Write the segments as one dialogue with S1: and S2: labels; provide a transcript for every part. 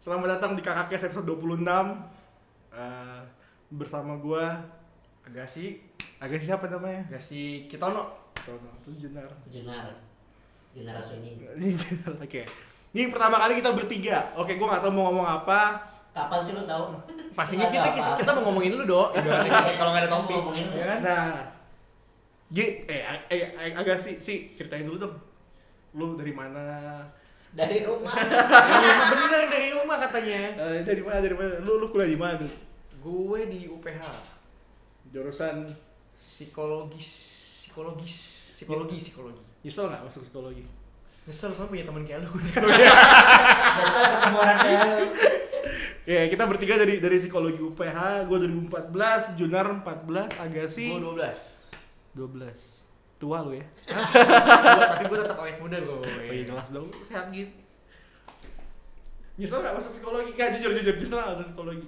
S1: Selamat datang di KKKS episode 26 Eh, Bersama gua Agasi Agasi siapa namanya?
S2: Gasi Kitono.
S1: Tono, lu Jenar
S3: Jenar Jenar Sunyi
S1: Oke Ini pertama kali kita bertiga Oke, gua gak tau mau ngomong apa
S3: kapan sih lu tahu
S2: Pastinya
S3: Nggak
S2: kita,
S3: ada
S2: kita
S3: apa-apa.
S2: kita mau ngomongin lu do. Ibaratnya Kalau nggak ada topik,
S3: Ngomongin lu.
S2: ya kan?
S1: Nah Ji, eh, A- eh, A- Agasi, si ceritain dulu dong Lu dari mana?
S3: dari rumah
S2: Dari rumah, Iya, Bener dari rumah katanya.
S1: Eh, dari mana, dari mana? Lu, lu kuliah di mana tuh?
S2: Gue di UPH
S1: Jurusan
S2: psikologis, psikologis, psikologi, psikologi.
S1: Nyesel gak masuk psikologi?
S2: Nyesel soalnya punya teman kayak lu.
S3: biasa ketemu orang kayak lu
S1: Ya, kita bertiga dari dari psikologi UPH, gue 2014, Junar 14, Agasi
S2: Gue 12
S1: 12. Tua lu ya.
S2: Gua- Tapi gue tetap awet muda gue.
S1: Oh iya jelas dong, sehat gitu. Nyesel gak masuk psikologi? Gak, jujur, jujur, nyesel gak masuk psikologi?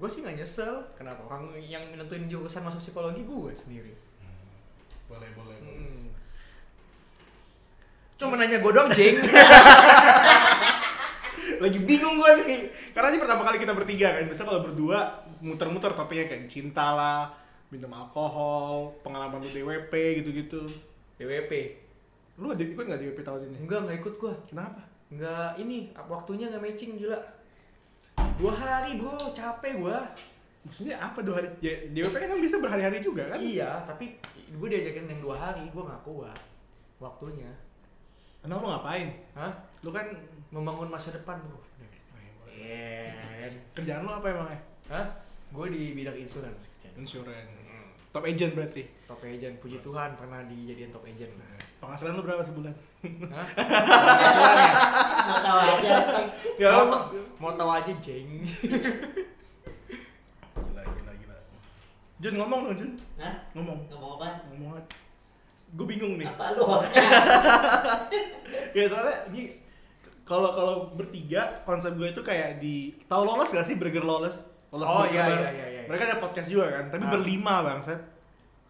S2: Gue sih nggak nyesel. Kenapa? Orang yang menentuin jurusan masuk psikologi gue sendiri.
S4: Hmm. boleh boleh boleh
S2: Hmm. Cuma nanya gue dong, Jing.
S1: Lagi bingung gue nih, karena ini pertama kali kita bertiga kan. Biasanya kalau berdua muter-muter topiknya kayak cinta lah, minum alkohol, pengalaman lu DWP gitu-gitu.
S2: DWP.
S1: Lu ada ikut gak DWP tahun ini?
S2: Enggak, nggak ikut gue.
S1: Kenapa?
S2: Nggak ini, apa waktunya nggak matching gila. Dua hari bro, capek gua.
S1: Maksudnya apa dua hari? Ya, DWP kan bisa berhari-hari juga kan?
S2: Iya, tapi gue diajakin yang dua hari, gua nggak kuat waktunya.
S1: Kenapa lu ngapain?
S2: Hah?
S1: Lu kan
S2: Membangun masa depan bro.
S1: Iya. Kerjaan lo apa emangnya?
S2: Hah? Gue di bidang insurance kerjaan.
S1: Insurance. Top agent berarti.
S2: Top agent, puji Tuhan pernah dijadiin top agent.
S1: Penghasilan lu berapa sebulan?
S2: Hah?
S3: nggak tahu aja
S1: Ya,
S2: Mau- Mau tahu aja jeng.
S4: gila gila gila
S1: Jun ngomong dong Jun.
S3: nah
S1: Ngomong.
S3: ngomong apa
S1: Ngomong aja. Gue bingung nih.
S3: apa lu hostnya
S1: Ya soalnya ini kalau kalau bertiga konsep gue itu kayak di tahu lolos gak sih burger lolos? Lolos
S2: Oh,
S1: Burger
S2: iya,
S1: Bar.
S2: iya, iya, iya.
S1: Mereka ada podcast juga kan, tapi
S2: Ah.
S1: berlima bang Set.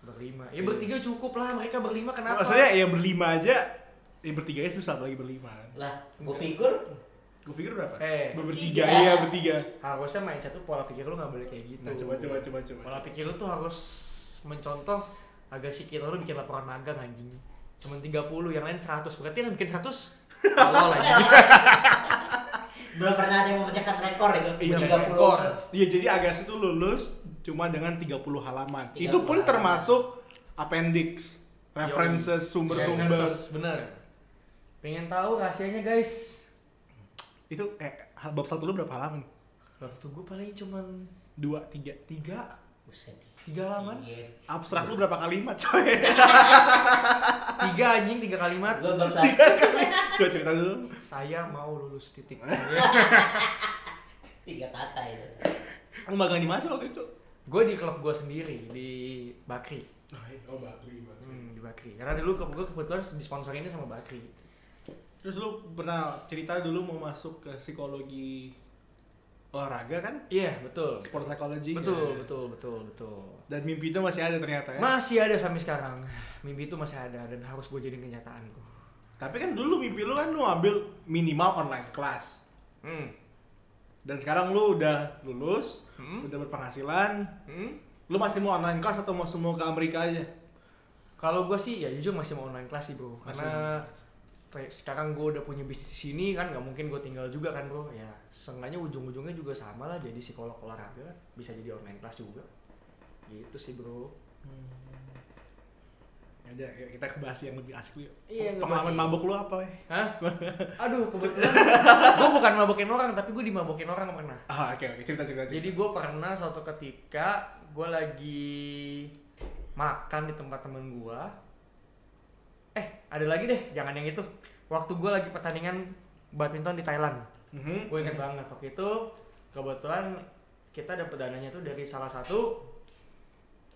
S2: Berlima. Ya bertiga cukup lah, mereka berlima kenapa?
S1: Maksudnya ya berlima aja, ya bertiga ya susah apalagi berlima.
S3: lah gua pikir
S1: Gue pikir berapa?
S2: Eh,
S1: Ber- bertiga,
S3: tiga.
S1: iya bertiga.
S2: harusnya mindset tuh pola pikir lu nggak boleh kayak gitu.
S1: Nah coba coba coba coba.
S2: Pola pikir lu tuh harus mencontoh agak si kita lu bikin laporan magang anjing. Cuman 30, yang lain 100. Berarti yang bikin 100 tolol anjing.
S3: belum pernah ada yang memecahkan rekor itu
S1: Iya,
S3: tiga puluh
S2: rekor.
S1: Iya, jadi Agassi itu lulus cuma dengan 30 halaman.
S3: 30
S1: itu pun
S3: halaman.
S1: termasuk appendix, references,
S3: Iya,
S1: sumber-sumber.
S3: kan,
S2: Bener. Pengen tahu rahasianya guys.
S1: Itu eh hal- bab satu lu berapa halaman?
S2: Waktu gue paling cuman
S1: Dua, tiga.
S2: 3
S3: buset
S2: tiga halaman
S3: Iya.
S1: Abstrak lu berapa kalimat, coy?
S2: tiga anjing tiga kalimat
S3: gua bab satu
S1: Coba cerita dulu.
S2: saya mau lulus titik
S3: Iya. tiga kata itu
S1: Lu magang di mana sih waktu itu?
S2: gue di klub gue sendiri di Bakri
S4: oh bakri bakri
S2: Hmm, di Bakri. Karena dulu klub gue kebetulan disponsorinnya sama Bakri.
S1: Terus lu pernah cerita dulu mau masuk ke psikologi olahraga kan?
S2: Iya, betul.
S1: Sport psychology.
S2: Betul,
S1: kan?
S2: betul, betul, betul.
S1: Dan mimpi itu masih ada ternyata ya.
S2: Masih ada sampai sekarang. Mimpi itu masih ada dan harus gue jadiin kenyataan gua.
S1: Tapi kan dulu mimpi lu kan lu ambil minimal online class.
S2: Hmm.
S1: Dan sekarang lu udah lulus,
S2: Hmm?
S1: udah berpenghasilan,
S2: Hmm?
S1: lu masih mau online class atau mau semua ke Amerika aja?
S2: Kalau gue sih ya jujur masih mau online kelas sih, Bro. Karena te- sekarang gue udah punya bisnis di sini kan nggak mungkin gue tinggal juga kan bro ya seenggaknya ujung-ujungnya juga sama lah jadi psikolog olahraga kan. bisa jadi online kelas juga gitu sih bro
S1: Ya udah, yuk kita ke bahas yang lebih asik dulu yuk.
S2: Iya,
S1: Pengalaman
S2: ngebahas-
S1: mabuk lu apa, weh?
S2: Hah? Aduh, kebetulan gue bukan mabokin orang, tapi gue dimabokin orang pernah.
S1: Ah, oke oke, cerita cerita. cerita.
S2: Jadi gue pernah suatu ketika gue lagi makan di tempat temen gue. Eh, ada lagi deh, jangan yang itu. Waktu gue lagi pertandingan badminton di Thailand,
S1: Mhm.
S2: gue inget banget waktu itu kebetulan kita dapet dananya tuh dari salah satu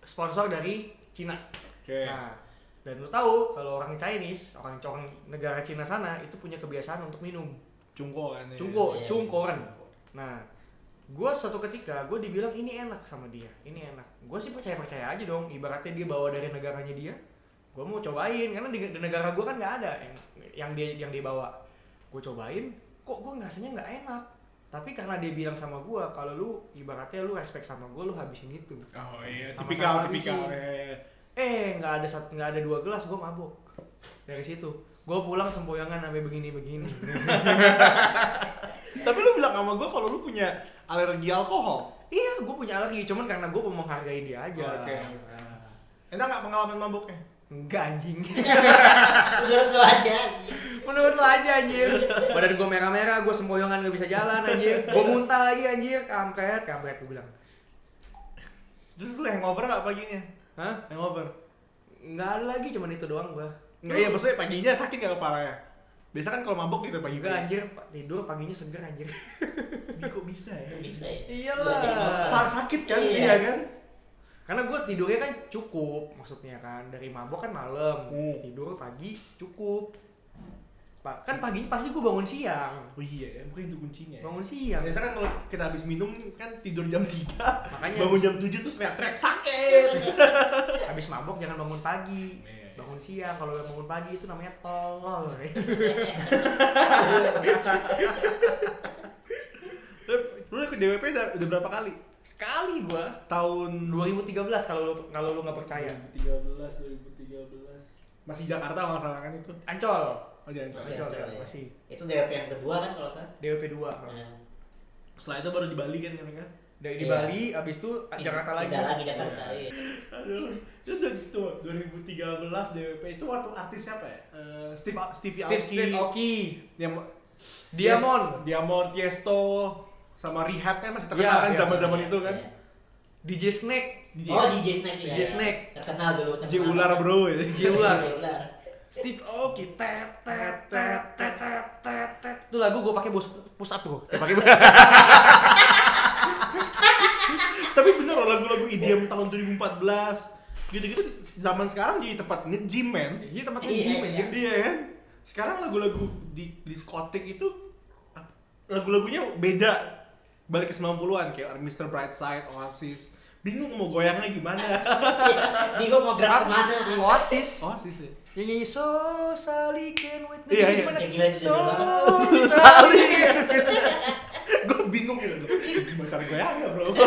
S2: sponsor dari Cina.
S1: Oke.
S2: Nah, dan lu tahu kalau orang Chinese, orang orang negara Cina sana itu punya kebiasaan untuk minum.
S1: Cungko kan. ya.
S2: Cungko,
S3: Iya.
S2: cungkoran. Nah, gue suatu ketika gue dibilang ini enak sama dia, ini enak. Gue sih percaya percaya aja dong. Ibaratnya dia bawa dari negaranya dia, gue mau cobain karena di, di negara gue kan nggak ada yang yang dia yang dia bawa. Gue cobain, kok gue ngerasanya nggak enak. tapi karena dia bilang sama gua kalau lu ibaratnya lu respect sama gua lu habisin itu
S4: Oh iya.
S2: Sama-
S1: tipikal
S2: habisin.
S1: tipikal eh,
S2: eh nggak ada sat- nggak ada dua gelas gua mabuk dari situ gua pulang sempoyongan sampai begini begini
S1: tapi lu bilang sama gue kalau lu punya alergi alkohol
S2: iya gua punya alergi cuman karena gua mau menghargai dia aja
S1: Oke. enak nggak pengalaman mabuknya
S2: enggak anjing
S3: Menurut lo aja.
S2: Menurut lo aja anjir. Badan gue merah-merah, gue sempoyongan gak bisa jalan anjir. Gue muntah lagi anjir, kampret, kampret gue bilang.
S1: terus lu hangover nggak paginya
S2: Hah?
S1: hangover
S2: Nggak ada lagi, cuman itu doang gue.
S1: Enggak iya maksudnya paginya sakit nggak kepalanya biasa kan kalau mabuk gitu pagi
S2: Enggak anjir, pa- tidur paginya seger anjir.
S1: Ini kok bisa ya
S3: Bisa ya.
S2: Iyalah.
S1: Sa- sakit kan
S3: Iya.
S1: iya kan
S2: Karena gue tidurnya kan cukup, maksudnya kan. Dari mabok kan malam,
S1: Hmm.
S2: tidur pagi cukup. Pa- kan paginya pasti gue bangun siang.
S1: oh iya ya mungkin itu kuncinya ya.
S2: Bangun siang.
S1: biasa kan kalau kita habis minum kan tidur jam 3
S2: Makanya.
S1: bangun jam 7 terus teriak-teriak sakit
S2: Habis mabok jangan bangun pagi.
S4: Iya, iya.
S2: Bangun siang, kalau udah bangun pagi itu namanya tolol.
S1: lu lu ke DWP udah, udah berapa kali
S2: Sekali gue
S1: tahun
S2: 2013 kalau lu kalau lu nggak percaya.
S3: Iya.
S4: 2013, 2013.
S1: masih Jakarta kalau nggak salah kan itu
S2: Ancol.
S1: oh jangan
S3: Masih
S2: Ancol
S3: Ancol,
S2: kan
S3: ya.
S2: masih
S3: Itu DWP yang kedua kan kalau saya.
S2: DWP 2.
S1: setelah itu baru di Bali kan mereka
S2: Dari di
S3: Iya.
S2: Bali abis itu Jakarta lagi.
S3: Tidak lagi Jakarta. iya.
S1: aduh itu gitu, tuh- tuh 2013 DWP itu waktu artis siapa ya Eh, Steve Steve
S2: Steve Steve Aoki.
S1: Diam-
S2: Diamond.
S1: Diamond Tiesto sama Rehab kan masih terkenal
S2: Iya,
S1: kan
S2: iya,
S1: zaman-zaman itu kan
S3: Iya.
S2: DJ Snake.
S3: Oh DJ Snake ya.
S2: DJ Snake.
S3: Terkenal dulu.
S1: J Ular bro
S2: DJ Ular.
S3: DJ Ular.
S2: Steve Aoki tet tet tet tet tet tet tet. Itu lagu gue pakai bos push up gue. Pakai
S1: tapi bener loh lagu-lagu IDM tahun 2014 gitu-gitu zaman sekarang jadi tempat nge-gym men
S2: Iya tempat
S3: Iya,
S2: gym
S3: iya.
S2: anjir.
S1: Iya kan? Sekarang lagu-lagu di diskotik itu ah, lagu-lagunya beda. Balik ke 90-an kayak Mr. Brightside, Oasis. Bingung mau goyangnya gimana.
S3: Bingung Iya, mau gerak kemana?
S2: Oasis.
S1: Oasis ya.
S2: Yang nyanyi so Sally can with
S1: Iya, iya.
S2: Gimana?
S3: Ya, gila, itu
S2: So
S3: judul
S2: Sally.
S1: gue bingung gitu. Gimana cara goyangnya, Bro? Gitu.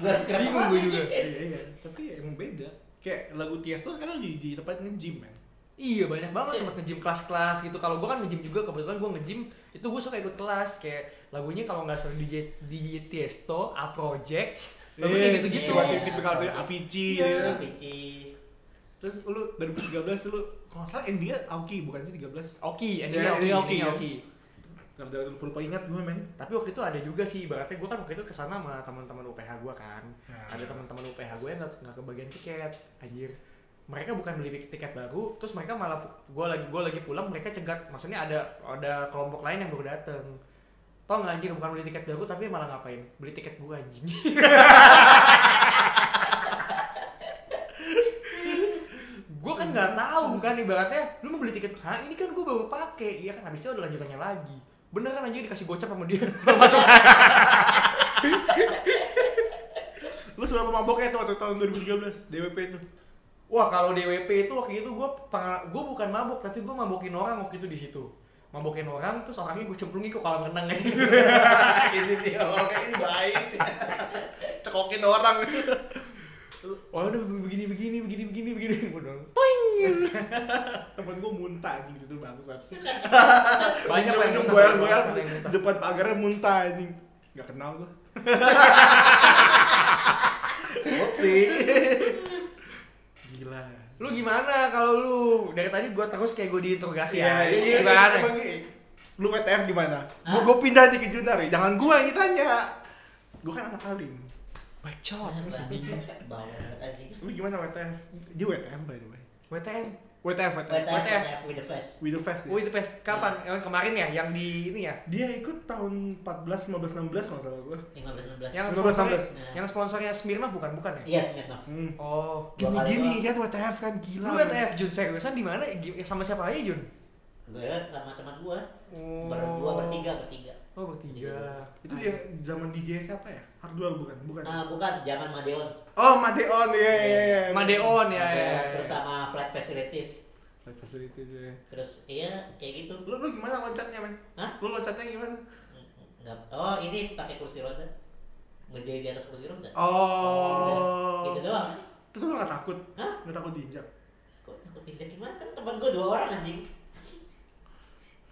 S3: Gue harus gerak
S2: Bingung
S3: kemana?
S2: gue juga.
S1: iya, iya. Tapi ya, emang beda. Kayak lagu Tiesto sekarang di, di tempat nge-gym, man.
S2: Iya banyak banget tempat nge-gym kelas-kelas gitu. Kalau gua kan nge-gym juga kebetulan gua nge-gym itu gua suka ikut kelas kayak lagunya kalau nggak salah DJ, DJ Tiesto, A Project, lagunya gitu-gitu.
S1: Cuma
S3: Iya.
S1: tipikal dari Avicii.
S2: Iya.
S1: gitu.
S3: Vici.
S1: Terus lu 2013 lu kalau nggak salah endingnya Aoki bukan sih 13.
S2: Oki, ini
S1: Iya,
S2: Oki,
S1: ini
S2: ini
S1: Oki.
S2: Oki.
S1: Sampai lupa ingat gue, men.
S2: Tapi waktu itu ada juga sih, ibaratnya gua kan waktu itu kesana sama teman-teman UPH gua kan.
S4: Nah.
S2: Ada teman-teman UPH gue yang nggak nggak kebagian tiket, anjir. Mereka bukan beli tiket baru, terus mereka malah gua lagi gua lagi pulang mereka cegat. Maksudnya ada ada kelompok lain yang baru dateng. Tau nggak anjir bukan beli tiket baru tapi malah ngapain? Beli tiket gua anjing. gue kan nggak tahu kan ibaratnya lu mau beli tiket ha ini kan gue baru pakai iya kan habisnya ada lanjutannya lagi bener kan anjir dikasih gocap sama dia masuk
S1: Lu seberapa maboknya tuh waktu tahun 2013 DWP itu?
S2: wah kalau DWP itu waktu itu gue gue bukan mabuk tapi gue mabukin orang waktu itu di situ mabukin orang terus orangnya gue cemplungi ke kolam renang
S1: ini Gitu dia orangnya ini baik. Cekokin orang.
S2: wah udah begini begini begini begini begini gue dong toing
S1: Temen gue muntah anjing di situ bangsat.
S2: banyak lah yang
S1: minum
S2: muntah,
S1: gue gue
S2: banyak lah yang muntah.
S1: depan pagarnya muntah anjing. Gak kenal gue. sih. Gila.
S2: lu gimana kalau lu dari tadi gue terus kayak gue diinterogasi ya
S1: ini
S2: ini gimana
S1: Lu WTF gimana? Gue
S3: Hah?
S1: gue pindah nih ke Junar ya. Jangan gue yang ditanya. Gue kan anak alim.
S2: bacot
S3: Bawa anjing.
S1: Lu gimana WTF? Dia WTF by the way.
S2: WTM
S1: WTF, WTF.
S3: WTF, WTF with the face.
S1: With the Fest ya?
S2: Oh itu pes kapan? Yang kemarin ya, yang di ini ya,
S1: Dia ikut tahun 14, 15, 16 masalah gue
S3: 15
S2: yang
S1: 15,
S2: sponsornya,
S3: 16.
S2: yang sponsornya Smirnoff bukan bukan ya?
S3: Iya, Smirnoff.
S1: hmm.
S2: Oh,
S1: Gini
S3: Dua kali
S1: gini
S3: doang.
S1: kan WTF kan
S3: Iya.
S1: gila
S2: lu
S1: men.
S2: WTF Jun seriusan di mana? Gi- Sama siapa aja Jun?
S3: Gue sama teman gue.
S2: Oh.
S3: Berdua, bertiga, Iya. bertiga.
S2: Oh bertiga.
S1: Itu dia zaman DJ siapa ya? Hardwell bukan?
S2: Oh.
S1: Bukan
S3: Nah, bukan zaman Madeon.
S1: Oh Madeon, iya iya iya
S2: Madeon ya. ya,
S3: Madeon,
S2: ya.
S3: Terus sama flat facilities.
S1: Live Facilities ya
S3: Terus iya kayak gitu.
S1: Lu, lu gimana loncatnya men?
S3: Hah?
S1: Lu loncatnya gimana?
S3: Nggak, oh ini pakai kursi roda. Berdiri di atas kursi roda.
S1: Oh.
S3: Gitu Oh. doang.
S1: Terus lu gak takut?
S3: Hah?
S1: Lu takut diinjak?
S3: Kok takut pindah gimana? Kan teman gue dua orang anjing.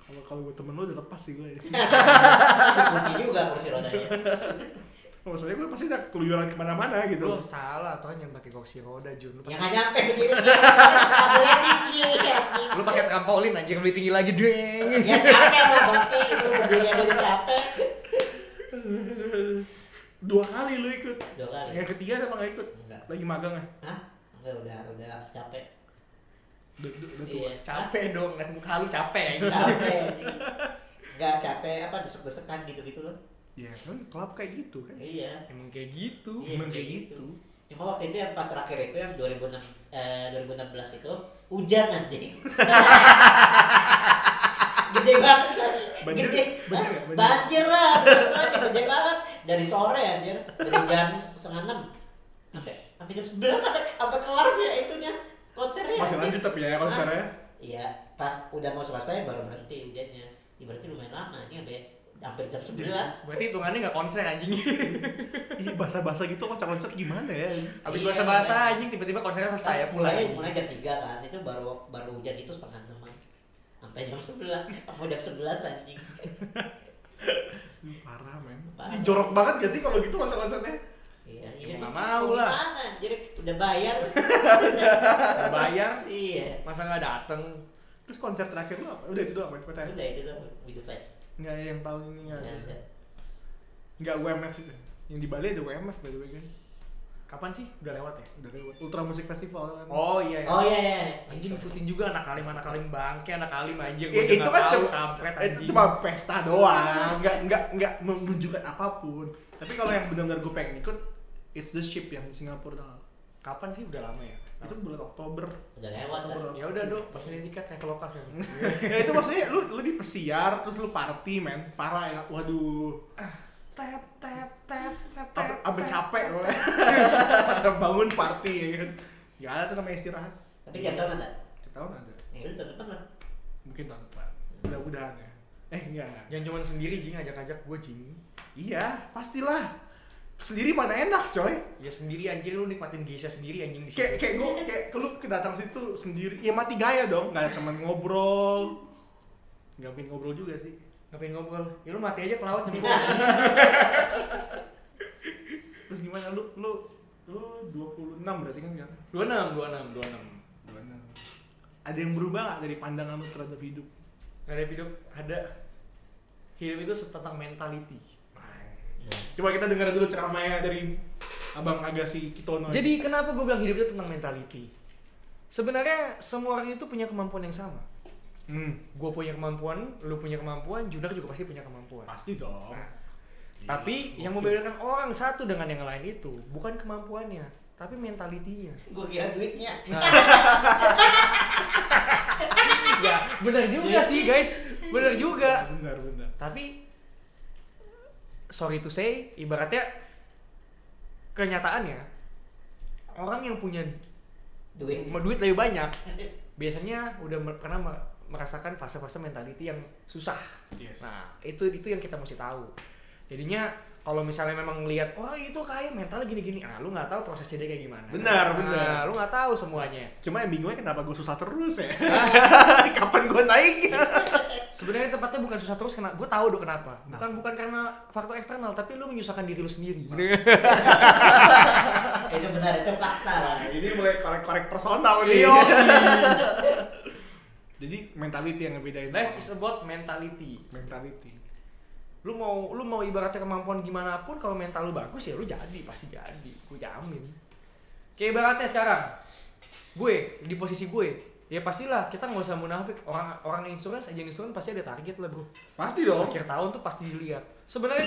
S1: Kalau kalau gue temen lu udah lepas sih gue.
S3: Kunci juga kursi rodanya.
S1: Maksudnya gue pasti udah keluyuran kemana-mana gitu.
S2: Lu salah atau yang pakai kursi roda Jun. Lu pakai
S3: Yang nggak nyampe berdiri. Tabelnya tinggi. anjing.
S2: lu pakai trampolin anjing lebih tinggi lagi deng.
S3: Ya capek lah bangke itu berdiri aja udah capek.
S1: Dua kali lu ikut.
S3: Dua kali.
S1: Yang ketiga apa gak ikut?
S3: Enggak.
S1: Lagi magang ya?
S3: Hah? Enggak udah udah capek.
S1: Udah, udah, udah tua.
S3: Iya.
S2: Capek dong, lihat muka lu capek. gitu.
S3: Capek. anjing. Nggak capek apa desek-desekan gitu-gitu loh.
S1: Ya kan klub kayak gitu kan.
S3: Iya.
S2: Emang kayak gitu.
S3: Iya,
S1: Emang
S3: kayak
S1: kayak
S3: gitu.
S1: gitu.
S3: Cuma waktu itu yang pas terakhir itu yang 2006 eh, 2016 itu hujan anjing. gede banget lagi.
S1: Banjir,
S3: gede.
S1: banjir
S3: Hah?
S1: nggak? Banjir.
S3: Banjir lah. banjir, gede banget dari sore anjir. Dari jam setengah enam sampai sampai jam sebelas sampai sampai kelar ya itunya konsernya.
S1: Masih
S3: anjing.
S1: lanjut tapi ya konsernya.
S3: Iya, pas udah mau selesai baru berhenti hujannya. Ya, berarti lumayan lama ini sampai hampir jam 11
S2: Berarti hitungannya nggak konser anjing.
S1: Ih
S3: Iya,
S1: bahasa-bahasa gitu loncat-loncat gimana ya?
S2: Habis
S3: Iya,
S2: bahasa-bahasa anjing tiba-tiba konsernya selesai ya pulang.
S3: mulai mulai jam 3 kan itu baru baru hujan itu setengah enam sampai jam 11 sampai jam 11 anjing
S1: Ih, Parah men.
S3: Parah.
S1: Ih, jorok banget gak sih kalau gitu loncat-loncatnya?
S3: iya
S2: Ya, mau nggak mau lah.
S3: gimana anjir udah bayar
S2: Bayar
S3: iya
S2: masa nggak dateng
S1: Terus konser terakhir lu apa? Udah itu doang, PTN.
S3: udah itu doang with the Iya, face
S1: Enggak yang tahun ini enggak.
S3: Udah, udah.
S1: Enggak WMF itu. Yang di Bali ada WMF by the way kan.
S2: Kapan sih? Udah lewat ya?
S1: Udah lewat Ultra Music Festival kan.
S2: Oh iya. iya.
S3: oh iya iya
S2: Anjing ngikutin juga anak alim anak alim bangke anak alim
S1: Ya,
S2: anjing. Gua
S1: itu
S2: nggak
S1: kan
S2: tahu,
S1: cuma,
S2: kampret
S1: itu
S2: anjing.
S1: cuma pesta doang, nggak nggak nggak menunjukkan apapun. Tapi kalau yang benar-benar gue pengen ikut, it's the ship yang di Singapura tau.
S2: Kapan sih? Udah lama ya.
S1: Itu bulan Oktober.
S3: udah lewat kan
S1: Oktober.
S2: Ya udah dok, pesenin tiket naik ke lokal ya.
S1: ya itu maksudnya lu lu di pesiar terus lu party men, parah ya. Waduh,
S2: Ah, Tet tet tet tet.
S1: sampai
S2: tet,
S1: sampai
S2: tet.
S1: capek gue. Udah bangun party ya kan. Gak ada tuh namanya istirahat.
S3: tapi tiap tahun ada
S1: Tiap tahun ada.
S3: ya udah tetep lah
S1: Mungkin tahun depan. Mudah-mudahan ya. Eh enggak.
S2: Jangan cuma sendiri jing ajak-ajak gue jing.
S1: Iya, pastilah. Sendiri mana enak, coy.
S2: Ya sendiri anjir lu nikmatin geisha sendiri anjing di
S1: kayak
S2: situ.
S1: kayak gue kayak ke- lu kedatang situ sendiri ya mati gaya dong nggak ada teman ngobrol nggak pengen ngobrol juga sih
S2: Ngapain ngobrol? Ya lu mati aja ke laut nyemplung.
S1: Iya. terus gimana lu lu lu 26 berarti kan kan
S2: 26, 26, 26.
S1: 26 ada yang berubah nggak dari pandangan lu terhadap hidup
S2: Gak ada hidup, ada hidup itu tentang mentality. Iya.
S1: coba kita dengar dulu ceramahnya dari abang Agassi Kitono
S2: Jadi kenapa gue bilang hidup itu tentang mentality? Sebenarnya semua orang itu punya kemampuan yang sama.
S1: hmm,
S2: Gue punya kemampuan, lu punya kemampuan, Junar juga pasti punya kemampuan.
S1: pasti dong
S2: Nah, tapi
S1: Gokil.
S2: yang membedakan orang satu dengan yang lain itu bukan kemampuannya, tapi mentalitinya.
S3: gue kira duitnya
S2: ya, bener juga sih guys, bener juga.
S1: benar benar
S2: Tapi sorry to say, ibaratnya kenyataannya orang yang punya
S3: duit
S2: duit lebih banyak biasanya udah mer- pernah mer- merasakan fase-fase mentality yang susah.
S1: yes
S2: Nah, itu itu yang kita mesti tahu. Jadinya kalau misalnya memang lihat wah itu kayak mental gini-gini, nah lu nggak tahu prosesnya dia kayak gimana.
S1: Benar,
S2: Nah,
S1: benar.
S2: lu nggak tahu semuanya.
S1: cuma yang bingungnya kenapa gue susah terus ya kapan gue naiknya
S2: Sebenarnya tempatnya bukan susah terus karena gue tahu dong kenapa.
S1: Nah.
S2: Bukan bukan karena faktor eksternal, tapi lu menyusahkan diri lu sendiri.
S3: Eh, itu benar itu fakta lah
S1: Nah, ini mulai korek-korek personal nih.
S2: Iya.
S1: Jadi mentality yang ngebedain. orang.
S2: Life is about mentality.
S1: mentality.
S2: Lu mau lu mau ibaratnya kemampuan gimana pun kalau mental lu bagus ya lu jadi pasti jadi. Gue jamin. Kayak ibaratnya sekarang gue di posisi gue ya pastilah kita nggak usah munafik orang orang insurance aja insurance pasti ada target lah bro
S1: Pasti dong.
S2: akhir tahun tuh pasti dilihat sebenarnya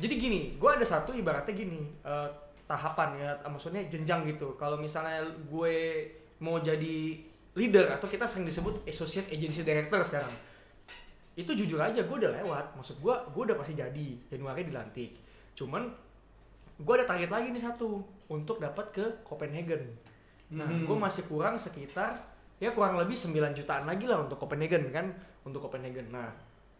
S2: jadi gini gue ada satu ibaratnya gini eh, tahapan ya maksudnya jenjang gitu kalau misalnya gue mau jadi leader atau kita sering disebut associate agency director sekarang itu jujur aja gue udah lewat maksud gue gue udah pasti jadi Januari dilantik cuman gue ada target lagi nih satu untuk dapat ke Copenhagen nah
S1: Hmm.
S2: gue masih kurang sekitar ya kurang lebih 9 jutaan lagi lah untuk Copenhagen kan untuk Copenhagen nah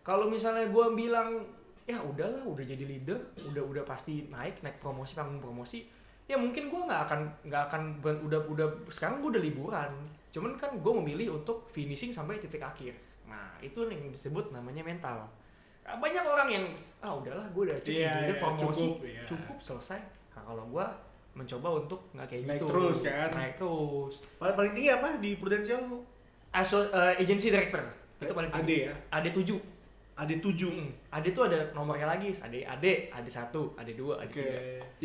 S2: kalau misalnya gue bilang ya udahlah udah jadi leader udah udah pasti naik naik promosi panggung promosi ya mungkin gue nggak akan nggak akan ber- udah udah sekarang gue udah liburan cuman kan gue memilih untuk finishing sampai titik akhir nah itu yang disebut namanya mental Ah, banyak orang yang ah udahlah gue udah cukup
S4: Iya,
S2: udah
S4: iya,
S2: promosi
S4: cukup, iya.
S2: cukup selesai nah, kalau gue mencoba untuk nggak kayak
S1: Naik
S2: gitu
S1: terus, kan?
S2: naik terus
S1: Paling paling tinggi apa di Prudential lu?
S2: Aso, eh, agency director itu paling
S1: AD
S2: tinggi.
S1: ya?
S2: AD 7
S1: Ada tujuh.
S2: Mm, AD tuh ada nomornya lagi AD AD AD 1 AD 2 AD
S1: Oke.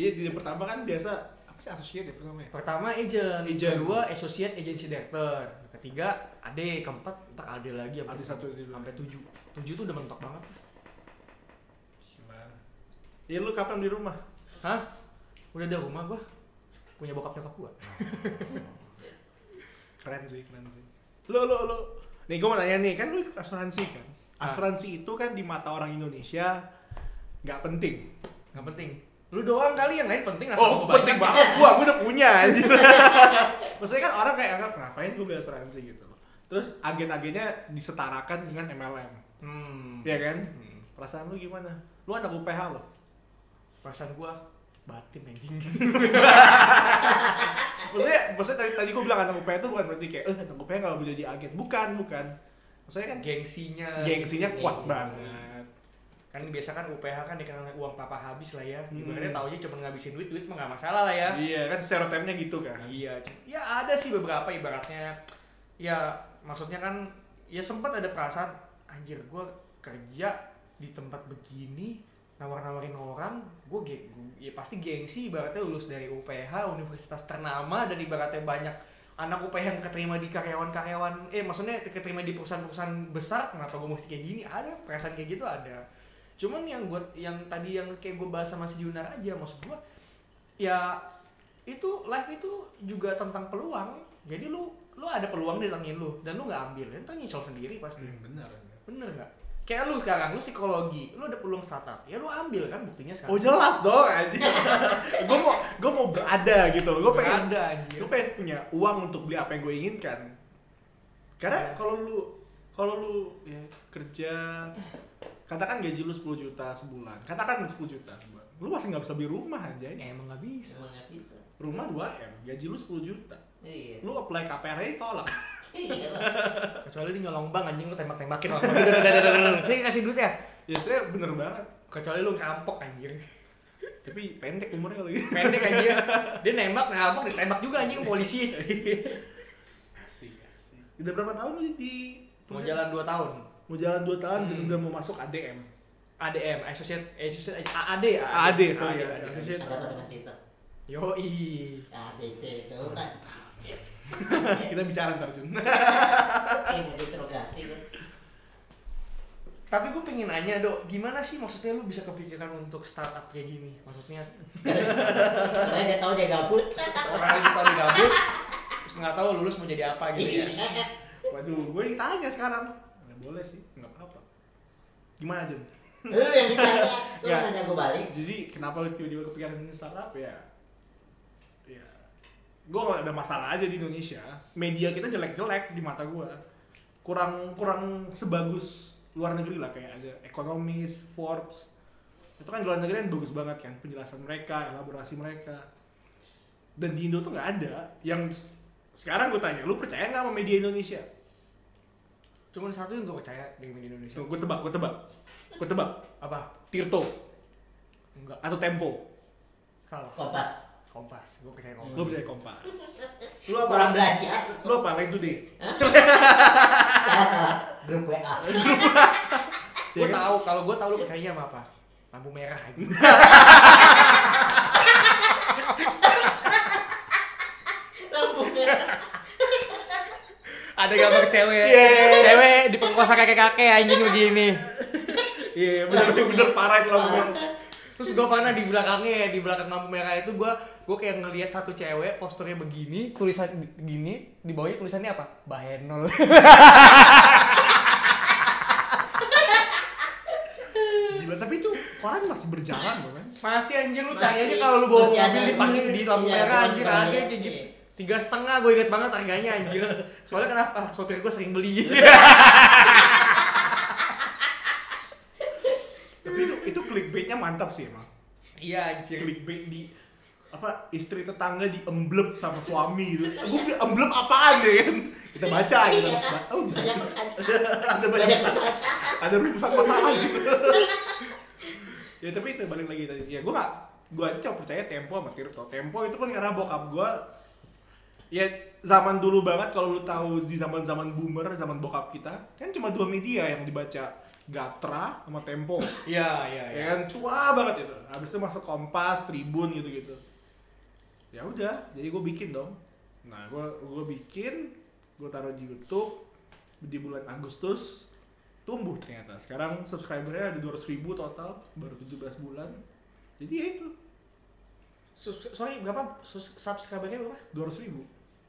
S2: 3
S1: Jadi di pertama kan biasa apa sih associate ya pertama ya?
S2: pertama agent,
S1: Agent.
S2: kedua associate agency director ketiga AD keempat entar AD lagi apa
S1: AD satu, AD dua.
S2: Iya, sampai 7 7 tuh udah mentok banget
S1: Gimana? Ya lu kapan di rumah?
S2: hah udah ada rumah gua punya bokap nyokap gua
S1: Keren sih, keren sih. Lu lu lu. Nih gue mau nanya nih, kan lu ikut asuransi kan?
S2: Ah.
S1: Asuransi itu kan di mata orang Indonesia nggak penting.
S2: nggak penting lu doang kali yang lain penting asal
S1: Oh,
S2: Nah, gua
S1: penting
S2: banyak.
S1: banget gua, gua udah punya anjir. Maksudnya kan orang kayak anggap ngapain gua beli asuransi gitu loh. Terus agen-agennya disetarakan dengan MLM.
S2: hmm.
S1: Iya kan?
S2: Hmm.
S1: Perasaan lu gimana? Lu anak UPH loh.
S2: perasaan gua batin anjing
S1: Maksudnya, maksudnya tadi, tadi gua bilang anak UPH itu bukan berarti kayak, eh anak UPH gak boleh jadi agen. Bukan, bukan. Maksudnya kan
S2: gengsinya
S1: gengsinya kuat
S3: Gengsi.
S1: banget.
S2: kan biasa kan UPH kan dikenal uang papa habis lah ya
S1: Hmm.
S2: ibaratnya taunya cuma ngabisin duit duit mah nggak masalah lah ya
S1: Iya kan stereotipnya gitu kan.
S2: iya cu- ya ada sih beberapa ibaratnya ya maksudnya kan ya sempat ada perasaan anjir gua kerja di tempat begini nawar-nawarin orang gue ya pasti gengsi ibaratnya lulus dari UPH universitas ternama dan ibaratnya banyak anak UPH yang keterima di karyawan-karyawan eh maksudnya keterima di perusahaan-perusahaan besar kenapa gue mesti kayak gini ada perasaan kayak gitu ada cuman yang gue yang tadi yang kayak gue bahas sama si Junar aja maksud gue ya itu life itu juga tentang peluang jadi lu lu ada peluang di tangan lu dan lu nggak ambil entar nyicil sendiri pasti
S1: Iya, benar.
S2: bener nggak kayak lu sekarang lu psikologi lu ada peluang startup ya lu ambil kan buktinya
S1: Oh
S2: sekarang
S1: jelas dong anjir. gue mau gue mau berada gitu loh. Gue pengen
S2: ada anjir
S1: gue pengen punya uang untuk beli apa yang gue inginkan karena kalau lu kalau lu ya, kerja katakan gaji lu 10 juta sebulan katakan 10 juta sebulan lu masih nggak bisa beli rumah aja
S2: Ya, emang nggak bisa
S3: Emang nggak bisa.
S1: rumah 2 m gaji lu 10 juta
S3: Iya.
S1: lu apply KPR aja tolak
S3: Iya.
S2: kecuali dia nyolong bank anjing lu tembak-tembakin orang Udah, udah, udah, udah, udah. Sini, kasih duit ya
S1: ya saya bener banget
S2: kecuali lu ngerampok anjir
S1: tapi pendek umurnya lagi
S2: pendek anjir dia nembak ngerampok ditembak juga anjing polisi
S4: Asik, asik.
S1: udah berapa tahun lu di
S2: mau jalan 2 tahun
S1: mau jalan 2 tahun dan
S2: Hmm.
S1: udah mau masuk ADM
S2: ADM associate associate AAD
S1: AAD sorry ya
S2: AAD.
S1: associate
S3: Ada apa dengan cerita?
S2: Yoi.
S3: A, B, C itu kan.
S2: Iya.
S1: kita bicara ntar Jun
S3: Eh, mau diinterogasi kan.
S2: Tapi gue pengen nanya dok, gimana sih maksudnya lu bisa kepikiran untuk startup kayak gini? Maksudnya
S3: Karena dia tahu dia gabut.
S2: orang lagi tahu dia gabut, terus nggak tahu lulus mau jadi apa gitu ya?
S3: Iya.
S1: waduh gue yang tanya sekarang Ya, boleh sih nggak apa-apa gimana Jun
S3: Lu yang ditanya, lu
S1: Nggak.
S3: nanya gue balik.
S1: jadi kenapa lu tiba-tiba kepikiran ini startup ya ya gue nggak ada masalah aja di Indonesia media kita jelek-jelek di mata gue kurang kurang sebagus luar negeri lah kayak ada ekonomis Forbes itu kan di luar negeri kan bagus banget kan penjelasan mereka elaborasi mereka dan di Indo tuh nggak ada yang s- sekarang gue tanya lu percaya nggak sama media Indonesia
S2: Cuman satu yang gue percaya dari media Indonesia.
S1: tuh gue tebak gue tebak gue tebak
S2: Apa?
S1: Tirto
S2: Enggak.
S1: atau Tempo
S2: Salah.
S3: Kompas.
S2: Kompas. Gue percaya
S1: lu
S2: kompas.
S1: percaya Kompas lu apa
S3: Kurang belajar.
S1: lu apa lain tuh deh
S3: Salah salah. Grup WA.
S2: Gue
S1: Iya kan?
S2: tahu kalau gue tahu lu percaya sama apa? Lampu merah. Gitu.
S3: Lampu merah.
S2: Ada gambar cewek,
S1: Yeay.
S2: cewek diperkosa kakek-kakek anjing begini.
S1: Iya, bener bener, bener parah itu lampu merah.
S2: Terus gue pernah di belakangnya, di belakang lampu merah itu gue gue kayak ngelihat satu cewek posturnya begini, tulisan begini, di bawahnya tulisannya apa? Bahenol.
S1: Gila, tapi itu koran masih berjalan loh kan.
S2: Masih anjir lu
S3: Masih,
S2: cari aja kalau lu bawa
S3: masih
S2: mobil
S3: ada.
S2: dipakai di lampu
S3: Iya,
S2: merah
S3: masih
S2: anjir
S3: ada,
S2: ada
S3: iya.
S2: kayak gitu. Tiga setengah gue inget banget harganya anjir. Soalnya kenapa? Sopir gue sering beli.
S1: Tapi itu itu mantap sih emang.
S2: Iya anjir.
S1: Clickbait di apa istri tetangga diemblep sama suami gitu. Gue bilang emblep apaan deh kan? Kita baca gitu.
S3: Iya.
S1: Oh,
S3: banyak pertanyaan
S1: ada
S3: banyak
S1: banyak
S3: pertanyaan
S1: ada rumusan-rumusan gitu. ya tapi itu balik lagi tadi. Ya gue gak gue aja cuma percaya tempo sama kripto. Tempo itu kan karena bokap gue ya zaman dulu banget kalau lu tahu di zaman zaman boomer zaman bokap kita kan cuma dua media yang dibaca Gatra sama Tempo
S2: Iya iya
S1: ya
S2: iya.
S1: kan tua banget itu habis itu masuk kompas tribun gitu gitu ya udah jadi gue bikin dong nah gue gue bikin gue taruh di YouTube di bulan Agustus tumbuh ternyata sekarang subscribernya ada 200 ribu total baru 17 bulan jadi ya itu
S2: Sus- sorry berapa Sus- subscribernya berapa?
S1: 200 ribu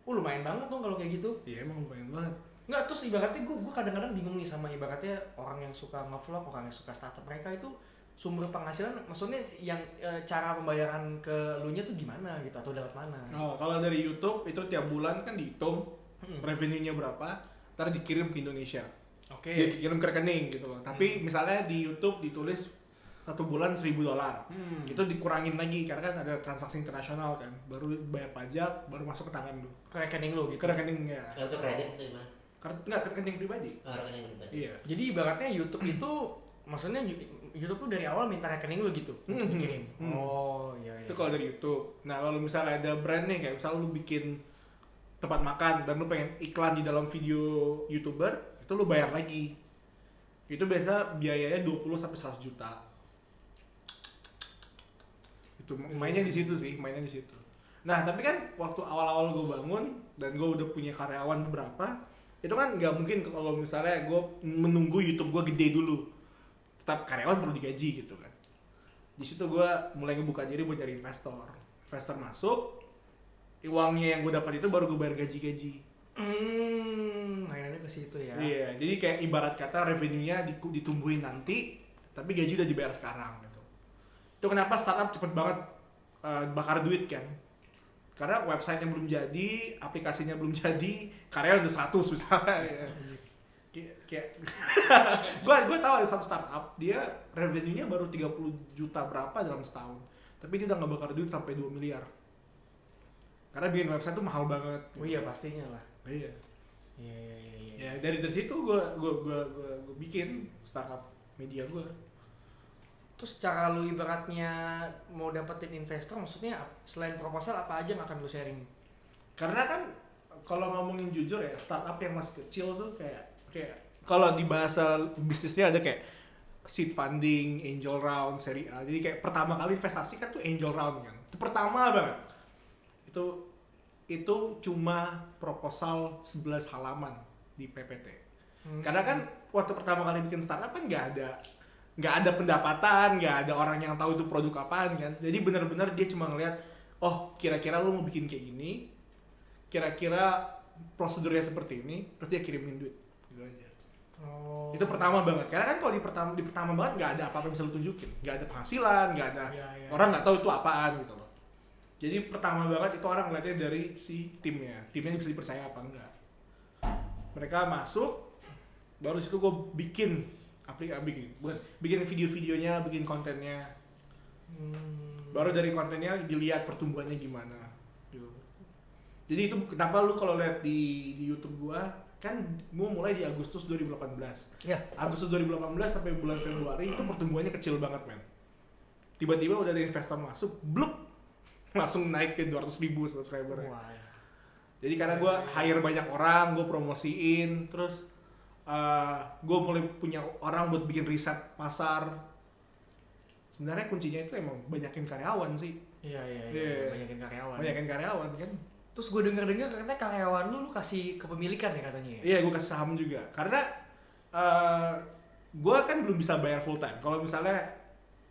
S2: Oh lumayan banget dong kalau kayak gitu.
S1: ya emang lumayan banget
S2: Nggak, terus ibaratnya gue gue kadang-kadang bingung nih sama ibaratnya orang yang suka ngevlog, orang yang suka startup mereka itu sumber penghasilan maksudnya yang eh, cara pembayaran ke lu nya tuh gimana gitu atau dapat mana?
S1: oh, kalau dari YouTube itu tiap bulan kan dihitung
S2: Mm-mm.
S1: revenue-nya berapa ntar dikirim ke Indonesia
S2: Oke.
S1: dia kirim ke rekening gitu loh. Tapi misalnya di YouTube ditulis satu bulan seribu dolar,
S2: Hmm.
S1: itu dikurangin lagi karena kan ada transaksi internasional kan, baru bayar pajak, baru masuk ke tangan lu,
S2: Ke rekening lu gitu.
S1: ke rekening ya,
S3: kartu kredit atau gimana
S1: Kar- nggak ke rekening pribadi.
S3: orang yang pribadi
S1: Iya.
S2: Jadi ibaratnya YouTube itu maksudnya Yu- YouTube tuh dari awal minta rekening lu gitu untuk
S1: Mhm.
S2: dikirim.
S1: Hmm.
S2: Oh iya iya.
S1: Itu kalau dari YouTube. Nah kalau misalnya ada brand nih kayak misalnya lu bikin tempat makan dan lu pengen iklan di dalam video youtuber, itu lu bayar lagi. Itu biasa biayanya 20 sampai 100 juta. Itu mainnya di situ sih, mainnya di situ. Nah tapi kan waktu awal-awal gue bangun dan gue udah punya karyawan beberapa, itu kan nggak mungkin kalau misalnya gue menunggu YouTube gue gede dulu. Tetap karyawan perlu digaji gitu kan di situ gue mulai ngebuka diri buat cari investor investor masuk uangnya yang gue dapat itu baru gue bayar gaji-gaji
S2: Hmm, mainannya ke situ
S1: iya
S2: ya.
S1: jadi kayak ibarat kata revenue-nya diku- ditumbuhin nanti tapi gaji udah dibayar sekarang gitu itu kenapa startup cepet banget eh, bakar duit kan karena websitenya belum jadi aplikasinya belum jadi karya udah 100 misalnya ya. Kayak- kayak gue gue tahu ada satu startup dia revenue-nya baru 30 juta berapa dalam setahun tapi dia udah nggak bakar duit sampai 2 miliar karena bikin website tuh mahal banget
S2: Oh iya pastinya lah.
S1: iya
S2: Iya iya iya. iya.
S1: ya dari dari situ gue gue gue gue, bikin startup media gue
S2: Terus cara lu ibaratnya mau dapetin investor maksudnya ap- selain proposal apa aja yang akan lu sharing?
S1: karena kan kalau ngomongin jujur ya startup yang masih kecil tuh kayak kayak kalau di bahasa bisnisnya ada kayak seed funding, angel round, seri A. Jadi kayak pertama kali investasi kan tuh angel round kan. Itu pertama banget. Itu itu cuma proposal 11 halaman di PPT.
S2: Hmm.
S1: Karena kan waktu pertama kali bikin startup kan nggak ada nggak ada pendapatan, nggak ada orang yang tahu itu produk apaan kan. Jadi benar-benar dia cuma ngeliat, oh kira-kira lu mau bikin kayak gini, kira-kira prosedurnya seperti ini, terus dia kirimin duit. Gitu aja.
S2: Oh.
S1: Itu pertama banget. Karena kan kalau di pertama di pertama banget nggak ada apa-apa yang bisa lu tunjukin, nggak ada penghasilan, nggak ada
S2: Iya, iya.
S1: orang nggak tahu itu apaan gitu loh. Jadi pertama banget itu orang ngeliatnya dari si timnya, timnya bisa dipercaya apa enggak. Mereka masuk, baru situ gue bikin aplikasi bikin, bukan, bikin video-videonya, bikin kontennya.
S2: Hmm.
S1: Baru dari kontennya dilihat pertumbuhannya gimana. Gitu. Jadi itu kenapa lu kalau lihat di, di YouTube gua kan gua mulai di Agustus 2018.
S2: Ya.
S1: Agustus 2018 sampai bulan Februari itu pertumbuhannya kecil banget men tiba-tiba udah ada investor masuk bluk langsung naik ke 200 ribu subscriber
S2: Wah. iya.
S1: jadi karena gue hire banyak orang gue promosiin terus gue mulai punya orang buat bikin riset pasar sebenarnya kuncinya itu emang banyakin karyawan sih
S2: Iya iya iya.
S1: Iya.
S2: Banyakin karyawan.
S1: banyakin karyawan kan
S2: Terus gue denger-dengar katanya karyawan lu lu kasih kepemilikan ya katanya ya?
S1: Iya, gue kasih saham juga. Karena eh gue kan belum bisa bayar full time. Kalau misalnya,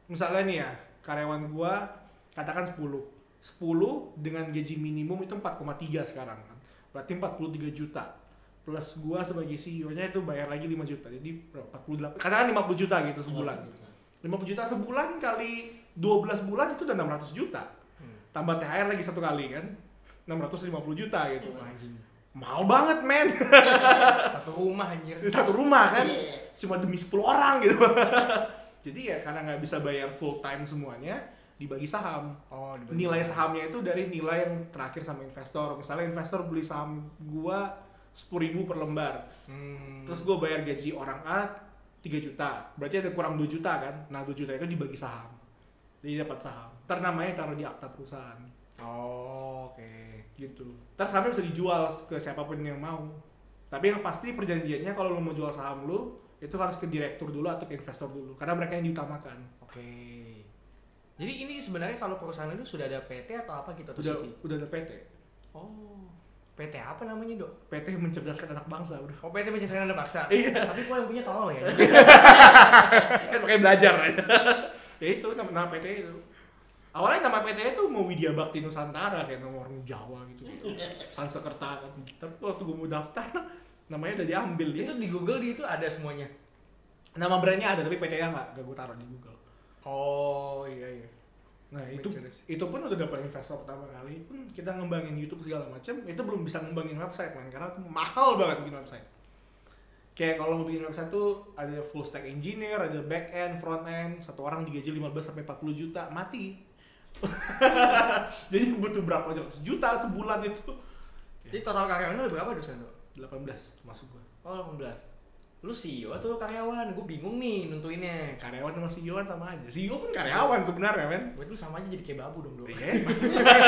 S1: misalnya nih ya, karyawan gue katakan 10. 10 dengan gaji minimum itu 4,3 sekarang kan. Berarti 43 juta. Plus gue sebagai CEO-nya itu bayar lagi 5 juta. Jadi berapa? 48, katakan 50 juta gitu sebulan.
S3: Iya.
S1: 50 juta sebulan kali 12 bulan itu udah 600 juta.
S2: Hmm.
S1: Tambah THR lagi satu kali kan. 650 juta gitu.
S2: Wah, Anjing.
S1: Mahal banget men.
S2: Satu rumah anjir.
S1: Di satu rumah kan
S3: Iya.
S1: cuma demi 10 orang gitu Jadi ya karena nggak bisa bayar full time semuanya, dibagi saham.
S2: Oh, dibagi.
S1: Nilai sahamnya itu dari nilai yang terakhir sama investor. Misalnya investor beli saham gua 10.000 per lembar.
S2: Hmm.
S1: Terus gua bayar gaji orang A 3 juta. Berarti ada kurang 2 juta kan? Nah, 2 juta itu dibagi saham. Jadi dapat saham. Ntar namanya taruh di akta perusahaan
S2: Oh, oke.
S1: gitu. Ntar sahamnya bisa dijual ke siapapun yang mau. Tapi yang pasti perjanjiannya kalau lo mau jual saham lo itu harus ke direktur dulu atau ke investor dulu karena mereka yang diutamakan.
S2: Oke. Jadi ini sebenarnya kalau perusahaan itu sudah ada PT atau apa gitu atau
S1: Udah
S2: CV?
S1: udah ada PT.
S2: Oh. PT apa namanya, Dok?
S1: PT yang mencerdaskan anak bangsa udah.
S2: Oh, PT menjelaskan Anda paksa.
S1: Iya.
S2: Tapi kok yang punya tolol ya?
S1: Kan makanya belajar aja. ya itu nama, nama PT itu. Awalnya nama PT itu mau Widya Bakti Nusantara kayak nomor orang Jawa gitu. gitu. Sansekerta kan. Tapi waktu gue mau daftar namanya udah diambil ya.
S2: itu di Google di itu ada semuanya.
S1: Nama brandnya ada tapi PT-nya nggak nggak gue taruh di Google.
S2: Oh, iya iya.
S1: Nah itu
S2: Mencerdaskan.
S1: itu pun udah dapat investor pertama kali pun kita ngembangin YouTube segala macam itu belum bisa ngembangin website man karena itu mahal banget bikin website. Kayak kalau mau bikin website tuh ada full stack engineer, ada back end, front end, satu orang digaji 15 sampai 40 juta mati. Jadi butuh berapa ratus juta sebulan itu?
S2: Jadi total karyawannya ada berapa dosen, Dok?
S1: 18 masuk gua.
S2: Oh, 18. Lu CEO atau lu karyawan? Gue bingung nih nentuinnya.
S1: Karyawan sama CEO kan sama aja. CEO pun karyawan sebenarnya, men.
S2: Buat lu sama aja jadi kayak babu dong, Dok.
S1: Iya.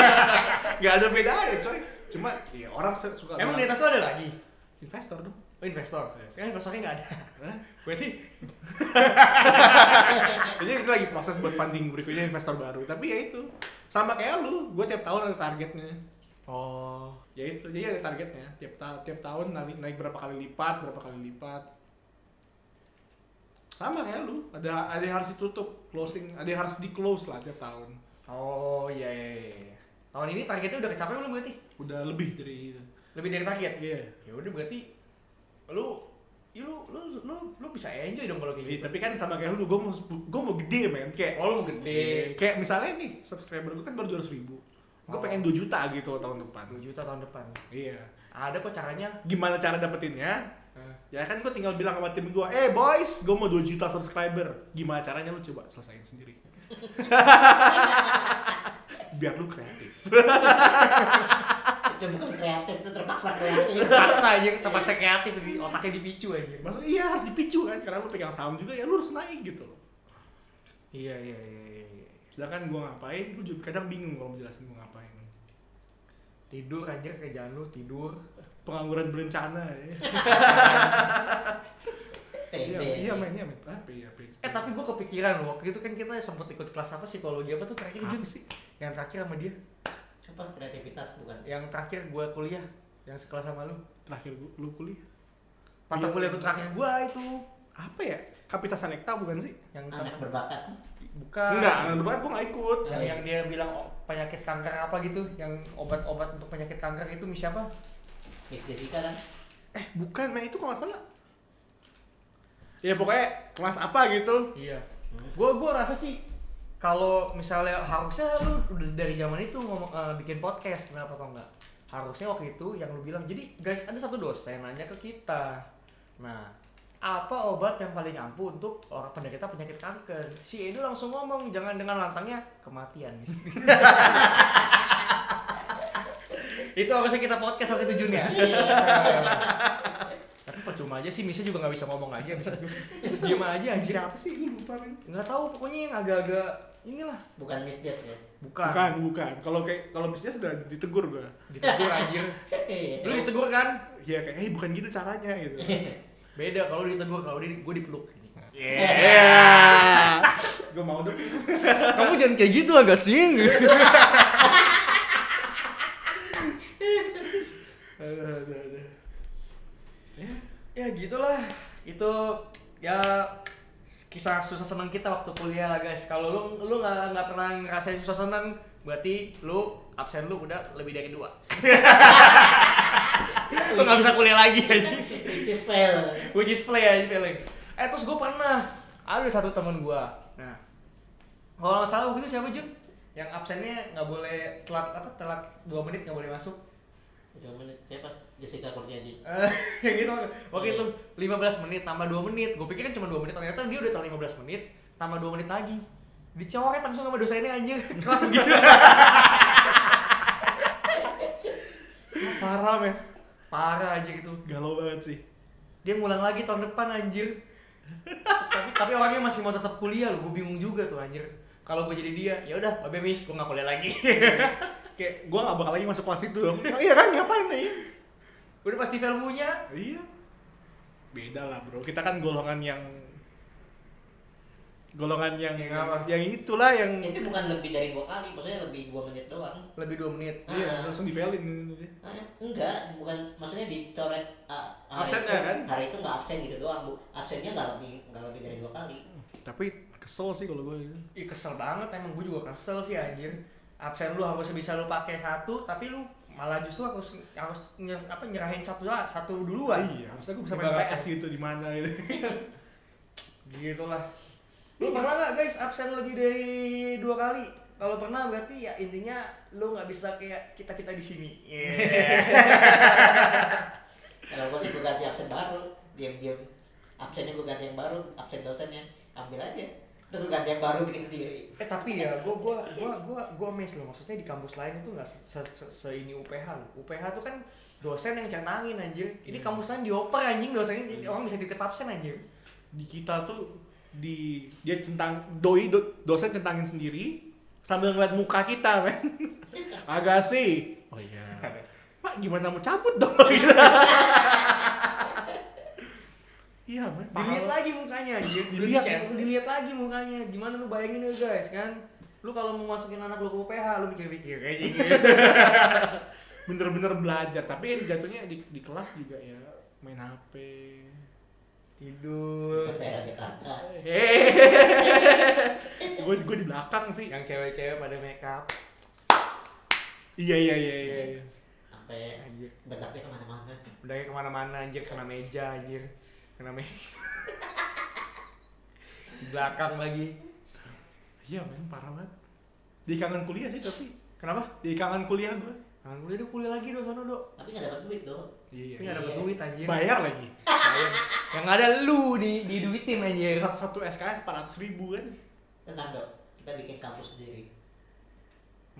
S1: Gak ada bedanya, coy. Cuma ya orang suka
S2: Emang di
S1: bilang,
S2: atas lu ada lagi?
S1: investor dong.
S2: Oh, investor. Sekarang investornya nggak ada.
S1: Hah?
S2: Berarti
S1: Jadi itu lagi proses buat funding berikutnya investor baru. Tapi ya itu sama kayak lu, gue tiap tahun ada targetnya.
S2: Oh.
S1: Ya itu, jadi ada targetnya. Tiap ta- tiap tahun naik, naik berapa kali lipat, berapa kali lipat. Sama kayak lu, ada ada yang harus ditutup, closing, ada yang harus di close lah tiap tahun.
S2: Oh, iya iya iya. Tahun ini targetnya udah kecapai belum berarti?
S1: Udah lebih dari
S2: Lebih dari target.
S1: Iya.
S2: Ya udah berarti lu ya lu, lu lu lu bisa enjoy dong kalau
S1: Iya,
S2: kayak gitu.
S1: tapi kan sama kayak lu, gue mau gue mau gede men, kayak
S2: Oh, lu mau gede.
S1: kayak misalnya nih subscriber gue kan baru 200 ribu, gue
S2: Oh.
S1: pengen 2 juta gitu tahun depan.
S2: 2 juta tahun depan.
S1: Iya.
S2: Ada kok caranya.
S1: Gimana cara dapetinnya?
S2: Eh,
S1: Ya kan gue tinggal bilang sama tim gue, eh boys, gue mau 2 juta subscriber. Gimana caranya lu coba selesain sendiri. Biar lu kreatif.
S3: itu bukan kreatif itu terpaksa kreatif
S1: Iya,
S2: Terpaksa aja, terpaksa kreatif di otaknya dipicu aja.
S1: Maksudnya iya harus dipicu kan, karena lu pegang saham juga ya lu harus naik gitu loh.
S2: Iya iya iya iya. iya.
S1: Sedangkan gue ngapain, lu juga kadang bingung kalau mau jelasin gue ngapain.
S2: Tidur anjir kerjaan lu tidur.
S1: Pengangguran berencana ya.
S3: PB
S1: Iya, iya men, iya men. Apa ya, apa ya?
S2: Eh tapi gue kepikiran waktu itu kan kita sempet ikut kelas apa psikologi apa tuh terakhir Jun
S1: Apa sih?
S2: yang terakhir sama dia
S3: apa kreativitas bukan
S2: yang terakhir gue kuliah yang sekelas sama lu
S1: Terakhir gua- lu kuliah.
S2: mata
S1: Iya.
S2: kuliah gua terakhir gue itu Eh.
S1: Apa ya? Kapita Sanekta bukan sih?
S2: yang
S3: anak berbakat
S2: bukan
S1: Enggak, anak berbakat gue gak ikut.
S2: yang, yang dia bilang oh, penyakit kanker apa gitu yang obat-obat untuk penyakit kanker itu Miss siapa
S3: Miss Jessica kan
S1: Eh bukan, men itu kalau gak salah. Ya pokoknya kelas apa gitu,
S2: iya gue gue rasa sih kalau misalnya harusnya lu udah dari zaman itu ngomong eh, bikin podcast kenapa tau nggak harusnya waktu itu yang lu bilang jadi guys ada satu dosen nanya ke kita nah apa obat yang paling ampuh untuk orang penderita penyakit kanker si Edo langsung ngomong jangan dengan lantangnya kematian Miss." itu harusnya kita podcast waktu itu Jun ya tapi percuma aja sih Misa juga nggak bisa ngomong aja bisa terus diem aja anjir
S1: Siapa sih? Gue lupa men.
S2: nggak tahu pokoknya yang agak-agak inilah
S3: bukan Miss Jess ya
S2: bukan,
S1: Bukan, bukan. Kalau kayak kalau bisnisnya sudah ditegur gue.
S2: ditegur anjir
S3: Iya.
S2: lu ditegur kan
S1: Iya kayak, eh bukan gitu caranya gitu.
S3: Iya.
S2: beda kalau lu ditegur kalau dia gue dipeluk
S1: gue mau dong.
S2: kamu jangan kayak gitu agak sih
S1: Aduh, aduh, aduh.
S2: ya gitulah itu ya kisah susah senang kita waktu kuliah lah guys kalau lu lu nggak nggak pernah ngerasain susah senang berarti lu absen lu udah lebih dari dua lu nggak bisa kuliah lagi anjing.
S3: Which is fail
S2: gue display aja feeling eh terus gue pernah ada satu temen gue nah kalau nggak salah waktu itu siapa Jun yang absennya nggak boleh telat apa telat dua menit nggak boleh masuk
S3: Dua menit siapa Jessica Kurniadi
S2: Eh, yang gitu waktu itu 15 menit tambah 2 menit gue pikir kan cuma 2 menit ternyata dia udah telat 15 menit tambah dua menit lagi dicoret langsung sama dosennya anjir kelas gitu
S1: Parah men.
S2: parah anjir itu
S1: Galau banget sih.
S2: dia ngulang lagi tahun depan anjir tapi tapi orangnya masih mau tetap kuliah loh gue bingung juga tuh anjir kalau gue jadi dia ya udah babe miss gue nggak kuliah lagi
S1: Kayak gua gak bakal lagi masuk kelas itu dong. iya kan ngapain nih?
S2: udah pasti value-nya
S1: Iya. Beda lah bro. Kita kan golongan yang golongan yang
S2: Yang apa?
S1: yang itulah yang
S3: itu bukan lebih dari dua kali maksudnya lebih dua menit doang
S2: lebih dua menit
S1: iya
S3: Ah.
S1: langsung di failin
S3: Hah? enggak bukan maksudnya dicoret ah, hari
S1: Absennya
S3: itu,
S1: kan?
S3: hari itu nggak absen gitu doang bu absennya nggak lebih nggak lebih dari dua kali
S1: tapi kesel sih kalau gue gitu.
S2: Ih kesel banget emang gue juga kesel sih anjir. Absen lu harus bisa lu pakai satu tapi lu malah justru harus harus nyer- apa nyerahin satu lah, satu duluan.
S1: iya harusnya gue bisa
S2: Dibangga
S1: main PS gitu di mana gitu
S2: Gitu lah. Lu pernah nggak guys absen lebih dari dua kali? Kalau pernah berarti ya intinya lu nggak bisa kayak kita kita di sini. Iya.
S3: kalau gue sih gue ganti absen baru diam-diam absennya gue ganti yang baru absen dosennya ambil aja terus gue ganti yang baru bikin sendiri
S2: eh tapi ya gue gue gue gue gue miss loh maksudnya di kampus lain itu nggak se, se- se- se ini UPH loh. UPH tuh kan dosen yang centangin anjir. Ini kampus lain dioper anjing dosennya jadi orang bisa titip absen anjir.
S1: di kita tuh di dia centang doi do- dosen centangin sendiri sambil ngeliat muka kita men agak sih oh iya pak gimana mau cabut dong gitu. iya men pahal.
S2: dilihat lagi mukanya anjir
S1: Dilihat. ya.
S2: dilihat dilihat lagi mukanya gimana lu bayangin ya guys kan lu kalau mau masukin anak lu ke UPH lu mikir-mikir kayak gitu
S1: bener-bener belajar tapi ya jatuhnya di, di kelas juga ya main HP
S2: tidur
S3: Daerah Jakarta
S1: Hehehe. gue gue di belakang sih
S2: yang cewek-cewek pada make up
S1: iya iya iya iya, iya.
S3: sampai
S2: anjir
S3: bentaknya kemana-mana
S2: bedanya kemana-mana anjir kena meja anjir kena meja di belakang lagi
S1: iya men parah banget di kangen kuliah sih tapi
S2: kenapa
S1: di kangen kuliah gue
S2: Kangen kuliah dia Kan, kuliah lagi dong sono dok
S3: tapi nggak dapat duit dong
S1: iya
S2: tapi nggak dapet duit anjir
S1: bayar lagi
S2: Bayar. yang ada lu di diduitin anjir
S1: satu, satu SKS 400 ribu kan
S3: tenang dok kita bikin kampus sendiri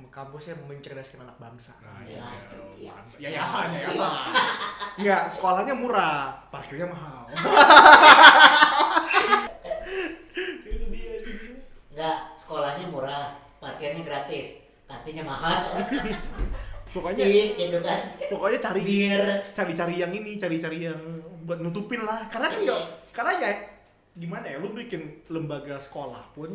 S2: kampusnya mencerdaskan anak bangsa
S1: Nah.
S3: iya.
S1: ya yayasan yayasan nggak sekolahnya murah parkirnya mahal itu dia itu dia.
S3: nggak sekolahnya murah parkirnya gratis kantinnya mahal
S1: pokoknya
S3: sih gitu kan
S1: pokoknya cari
S3: Bir.
S1: cari-cari yang ini cari-cari yang buat nutupin lah karena kan
S3: Iya.
S1: nggak karena ya gimana ya lu bikin lembaga sekolah pun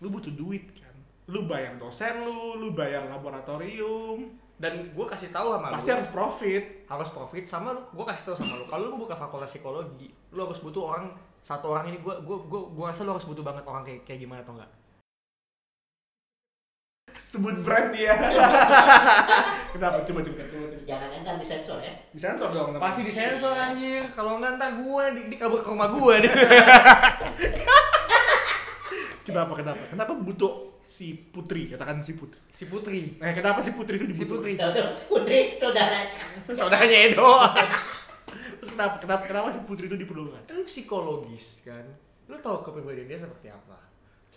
S1: lu butuh duit kan lu bayar dosen lu lu bayar laboratorium
S2: dan gue kasih tahu sama
S1: pasti harus profit
S2: harus profit sama lu gue kasih tau sama lu kalau lu mau buka fakultas psikologi lu harus butuh orang satu orang ini gue gue gue gue rasa lu harus butuh banget orang kayak kayak gimana atau enggak
S1: sebut brand dia kenapa coba coba coba coba
S3: jangan entar disensor ya
S1: disensor dong namanya.
S2: pasti disensor anjir kalau enggak ntar gue di, di kabur ke rumah gue deh
S1: kenapa kenapa kenapa butuh si putri katakan si putri
S2: si putri
S1: nah kenapa si putri itu
S2: si
S1: dibutuhkan
S2: putri
S3: Tuh, tuh, putri saudaranya
S2: saudaranya Edo
S1: terus kenapa kenapa kenapa si putri itu diperlukan
S2: lu psikologis kan lu tahu kepribadian dia seperti apa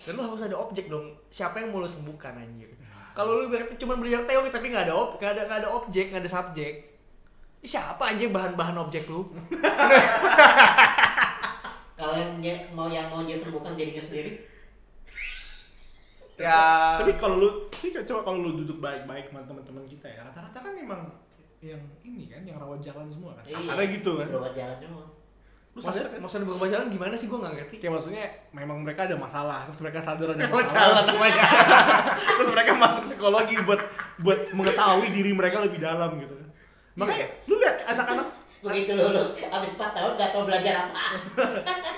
S2: dan lu harus ada objek dong siapa yang mau lu sembuhkan anjir kalau lu berarti cuma belajar teori tapi nggak ada ob nggak ada nggak ada objek nggak ada subjek Ih, siapa anjir bahan-bahan objek lu
S3: kalau yang je- mau yang mau dia sembuhkan dirinya sendiri
S2: ya
S1: tapi kalau lu tapi coba kalau lu duduk baik-baik sama teman-teman kita ya rata-rata kan emang yang ini kan yang rawat jalan semua kan kasarnya gitu kan
S3: berobat jalan semua
S1: lu sadar
S2: Maksud,
S1: kan
S2: Iya. maksudnya berubah jalan gimana sih gue gak ngerti
S1: kayak maksudnya memang mereka ada masalah terus mereka sadar ada
S2: Berubah
S1: masalah
S2: namanya
S1: terus mereka masuk psikologi buat buat mengetahui diri mereka lebih dalam gitu makanya lu lihat anak-anak
S3: begitu lulus habis 4 tahun nggak tahu belajar apa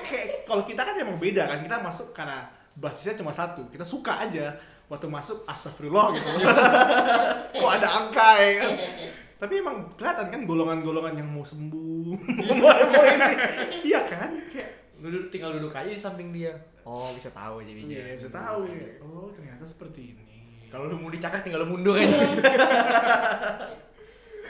S1: kayak kalau kita kan emang beda kan kita masuk karena basisnya cuma satu kita suka aja waktu masuk astagfirullah gitu kok ada angka ya kan tapi emang kelihatan kan golongan-golongan yang mau sembuh mau mau ini iya kan kayak
S2: Lu duduk, tinggal duduk aja di samping dia Oh bisa tahu jadinya
S1: iya bisa tahu ya. oh ternyata seperti ini
S2: Kalau lu mau dicakar tinggal lu mundur aja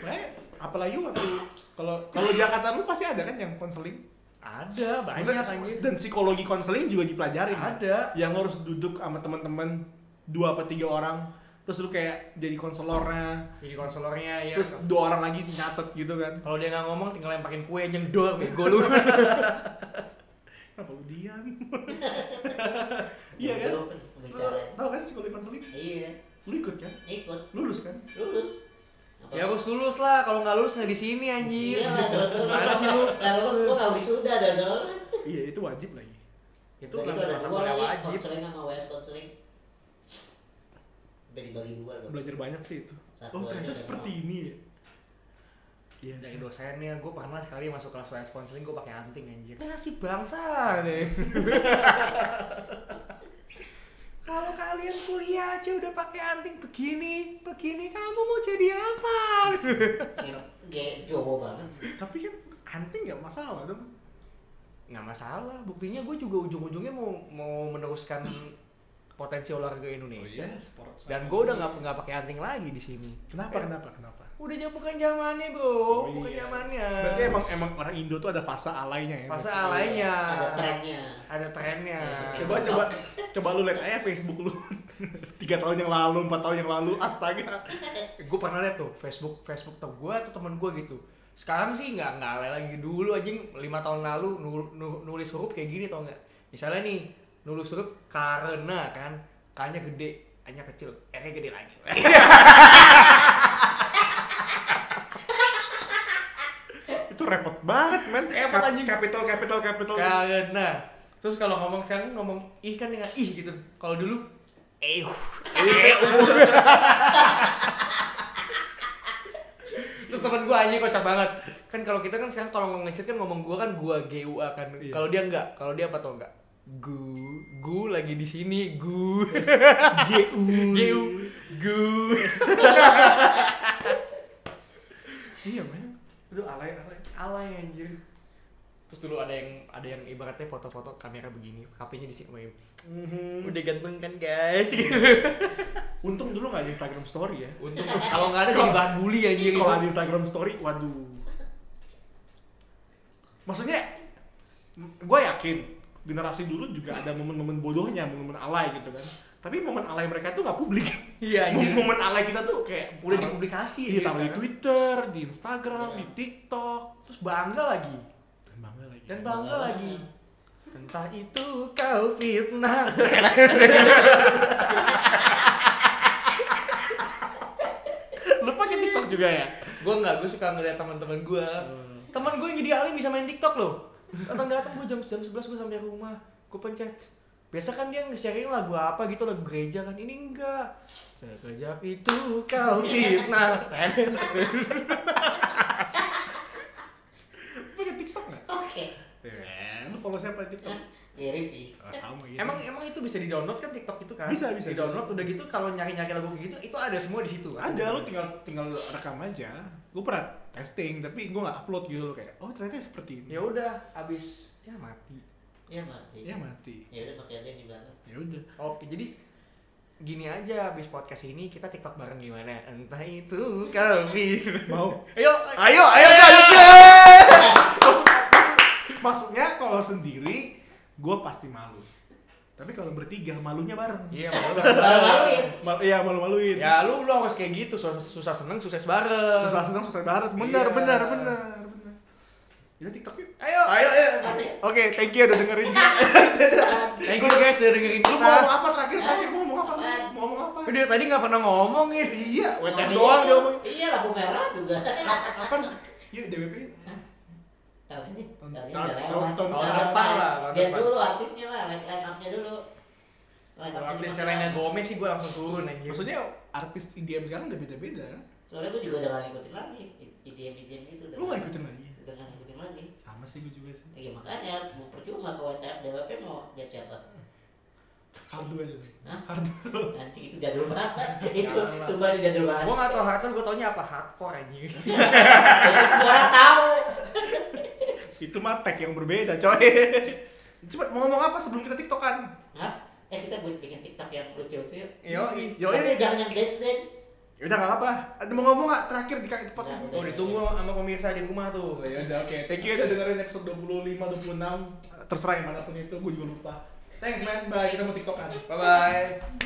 S1: Makanya, apalagi waktu kalau kalau Jakarta lu pasti ada kan yang konseling
S2: Ada banyak
S1: Maksudnya,
S2: anjir.
S1: dan psikologi konseling juga dipelajari kan?
S2: Ada.
S1: yang lo harus duduk sama teman-teman dua apa tiga orang terus lu kayak jadi konselornya
S2: Jadi konselornya ya.
S1: terus dua orang lagi nyatet gitu kan
S2: kalau dia nggak ngomong tinggal lemparin kue jendol bego lu.
S1: apa lu diam iya kan
S3: Lu
S1: Lu
S3: Bicara.
S1: tau kan psikologi konseling
S3: Iya,
S1: lu ikut kan
S3: ikut
S1: lulus kan
S3: lulus. Apa?
S2: ya harus lulus lah, kalau nggak lulus nggak di sini anjir.
S3: Iya lah, dodol.
S2: Mana sih lu?
S3: Nah, lulus gua nggak wisuda dodol.
S1: iya itu wajib lagi
S2: Itu
S3: Nah,
S2: kan
S3: ada
S2: mata
S3: dua
S2: kuliah
S3: lagi,
S2: wajib.
S3: konseling sama WS konseling. Bagi-bagi dua dong.
S1: belajar banyak sih itu
S3: Satu
S1: oh
S3: aja
S1: ternyata
S2: kan.
S3: udah
S1: seperti
S3: mau.
S1: ini ya iya
S2: Dari dosennya, gue pernah sekali masuk kelas WS konseling gue pakai anting anjir. Nah si
S1: Ah,
S2: bangsa nih. Kalau kalian kuliah aja udah pakai anting begini, begini kamu mau jadi apa?
S3: Kayak Jowo banget.
S1: tapi kan anting nggak masalah dong
S2: nggak masalah, buktinya gue juga ujung-ujungnya mau mau meneruskan potensi olahraga Indonesia.
S1: Iya, sport
S2: Dan gue udah nggak nggak pakai anting lagi di sini. Eh,
S1: kenapa kenapa kenapa
S2: Udah jam bukan zamannya bro,
S1: Oh,
S2: bukan
S1: iya.
S2: zamannya.
S1: berarti emang emang orang Indo tuh ada fase alainya ya
S2: Eh. Fase alainya.
S3: Ada trennya.
S2: Ada trennya.
S1: coba coba coba lu lihat aja Facebook lu tiga tahun yang lalu empat tahun yang lalu astaga
S2: gue pernah liat tuh Facebook Facebook temen gue atau temen gue gitu sekarang sih nggak nggak alay lagi dulu aja lima tahun lalu nul- nul- nulis huruf kayak gini tau nggak misalnya nih nulis huruf karena kan kanya gede hanya kecil r gede lagi
S1: itu repot banget men
S2: Repot,
S1: Kap-
S2: Eh, anjing.
S1: capital capital capital
S2: karena terus kalau ngomong sekarang ngomong ih kan dengan ih gitu kalau dulu eh terus temen gue aja kocak banget kan kalau kita kan sekarang kalau ngomong ngechat kan ngomong gue kan gue gua kan
S1: Iya.
S2: kalau dia enggak kalau dia apa tau enggak gu gu lagi di sini gu
S1: GU
S2: gu gu
S1: iya men itu alay alay
S2: alay anjir terus dulu ada yang ada yang ibaratnya foto-foto kamera begini HP-nya di sini udah ganteng kan guys
S1: Mhm. untung dulu nggak ada Instagram Story ya
S2: Untung kalau Iya, nggak ada jadi bahan bully anjir.
S1: kalau ada Instagram Story waduh maksudnya gue yakin generasi dulu juga ada momen-momen bodohnya momen-momen alay gitu kan tapi momen alay mereka tuh nggak publik
S2: Iya anjir.
S1: momen alay kita tuh kayak
S2: Udah
S1: taruh-
S2: dipublikasi
S1: Iya,
S2: anjir
S1: taruh di
S2: sekarang.
S1: Twitter, di Instagram,
S3: Iya.
S1: di TikTok,
S2: Terus bangga lagi.
S1: dan bangga lagi.
S2: Dan
S3: bang-
S2: bangga lagi. Entah itu kau fitnah.
S1: lu pakai TikTok juga ya?
S2: gue nggak, gue suka ngeliat teman-teman gue.
S1: Hmm.
S2: Teman gue yang jadi ahli bisa main TikTok loh. Datang datang gue jam jam 11 gue sampai rumah. Gue pencet. Biasa kan dia nge-sharing lagu apa gitu lagu gereja kan. Ini enggak. Sekejap itu kau fitnah.
S1: Lu pakai TikTok nggak?
S3: Oke.
S1: Ya, lu follow siapa di TikTok?
S3: Ya review.
S1: Ah, sama gitu.
S2: Emang emang itu bisa di-download kan TikTok itu kan?
S1: Bisa, bisa.
S2: Di-download udah gitu kalau nyari-nyari lagu kayak gitu itu ada semua di situ. kan?
S1: ada lu tinggal tinggal rekam aja. Gue pernah testing tapi gue nggak upload gitu loh kayak oh ternyata seperti ini.
S2: Ya udah habis ya mati.
S3: Ya mati.
S2: Iya,
S1: Ya mati.
S3: Ya udah masih ada yang di belakang.
S1: Ya udah.
S2: Oke, jadi gini aja habis podcast ini kita TikTok bareng gimana? Entah itu kami.
S1: Mau?
S2: Ayo.
S1: Ayo, ayo lanjut. Maksudnya kalau sendiri gue pasti malu. Tapi kalau bertiga malunya bareng.
S2: Iya, malu-maluin.
S1: Mal iya malu-maluin.
S2: Ya lu lu harus kayak gitu, susah, susah seneng, sukses bareng.
S1: susah senang susah bareng benar
S2: Iya.
S1: benar benar benar itu TikTok yuk
S2: Ayo.
S1: ayo ayo
S3: Oke.
S1: oke thank you udah dengerin
S2: Thank you guys udah dengerin
S1: lu mau
S2: kita.
S1: ngomong apa terakhir terakhir mau ngomong apa
S3: Apaan?
S1: mau ngomong apa
S2: Udah tadi nggak pernah ngomongin.
S1: iya wetan
S3: Ngomongin
S1: doang dia
S3: itu.
S1: ngomong Iya,
S3: Iya, lampu merah juga.
S1: kapan yuk DWP yuk.
S3: Tahun ini,
S1: Tahun-
S3: tahun ini udah
S1: tahun-
S3: lewat.
S1: tahun
S2: depan lah, tahun
S3: Dia
S2: depan.
S3: dulu artisnya lah, line line up-nya dulu. Line up-nya
S2: Artis
S3: cuma-
S2: Selena Gomez sih gue langsung turun anjir.
S1: Iya, maksudnya artis IDM sekarang udah beda beda
S3: Soalnya gue juga udah gak ngikutin lagi IDM IDM gitu udah
S1: lu nggak ikutin lagi
S3: udah gak ngikutin lagi.
S1: sama sih gue juga sih
S3: Ya makanya mau percuma ke WTF DWP mau jadi siapa?
S1: hardwell
S3: Hah?
S1: hardwell
S3: Nanti itu jadul banget. itu
S2: Jangan lah.
S3: cuma di jadul banget.
S2: Gue gak tau hardcore, gue taunya apa hardcore anjing.
S1: Iya,
S3: Itu semua orang tahu.
S1: itu mah tag yang berbeda coy cepat mau ngomong apa sebelum kita tiktokan
S3: Hah? Eh kita buat bikin TikTok yang lucu-lucu yuk.
S2: Yoi.
S1: Iya. Yoi.
S3: Tapi jangan yang dance dance.
S1: Ya udah nggak apa-apa. Ada mau ngomong nggak terakhir di kaki tempat
S3: Ya,
S1: ini?
S2: Oh ditunggu
S1: iya.
S2: sama pemirsa di rumah tuh.
S1: Ya udah oke. Thank you udah dengerin episode 25 26. Terserah yang manapun itu, gue juga lupa. Thanks man, bye. Kita mau tiktokan. Bye bye.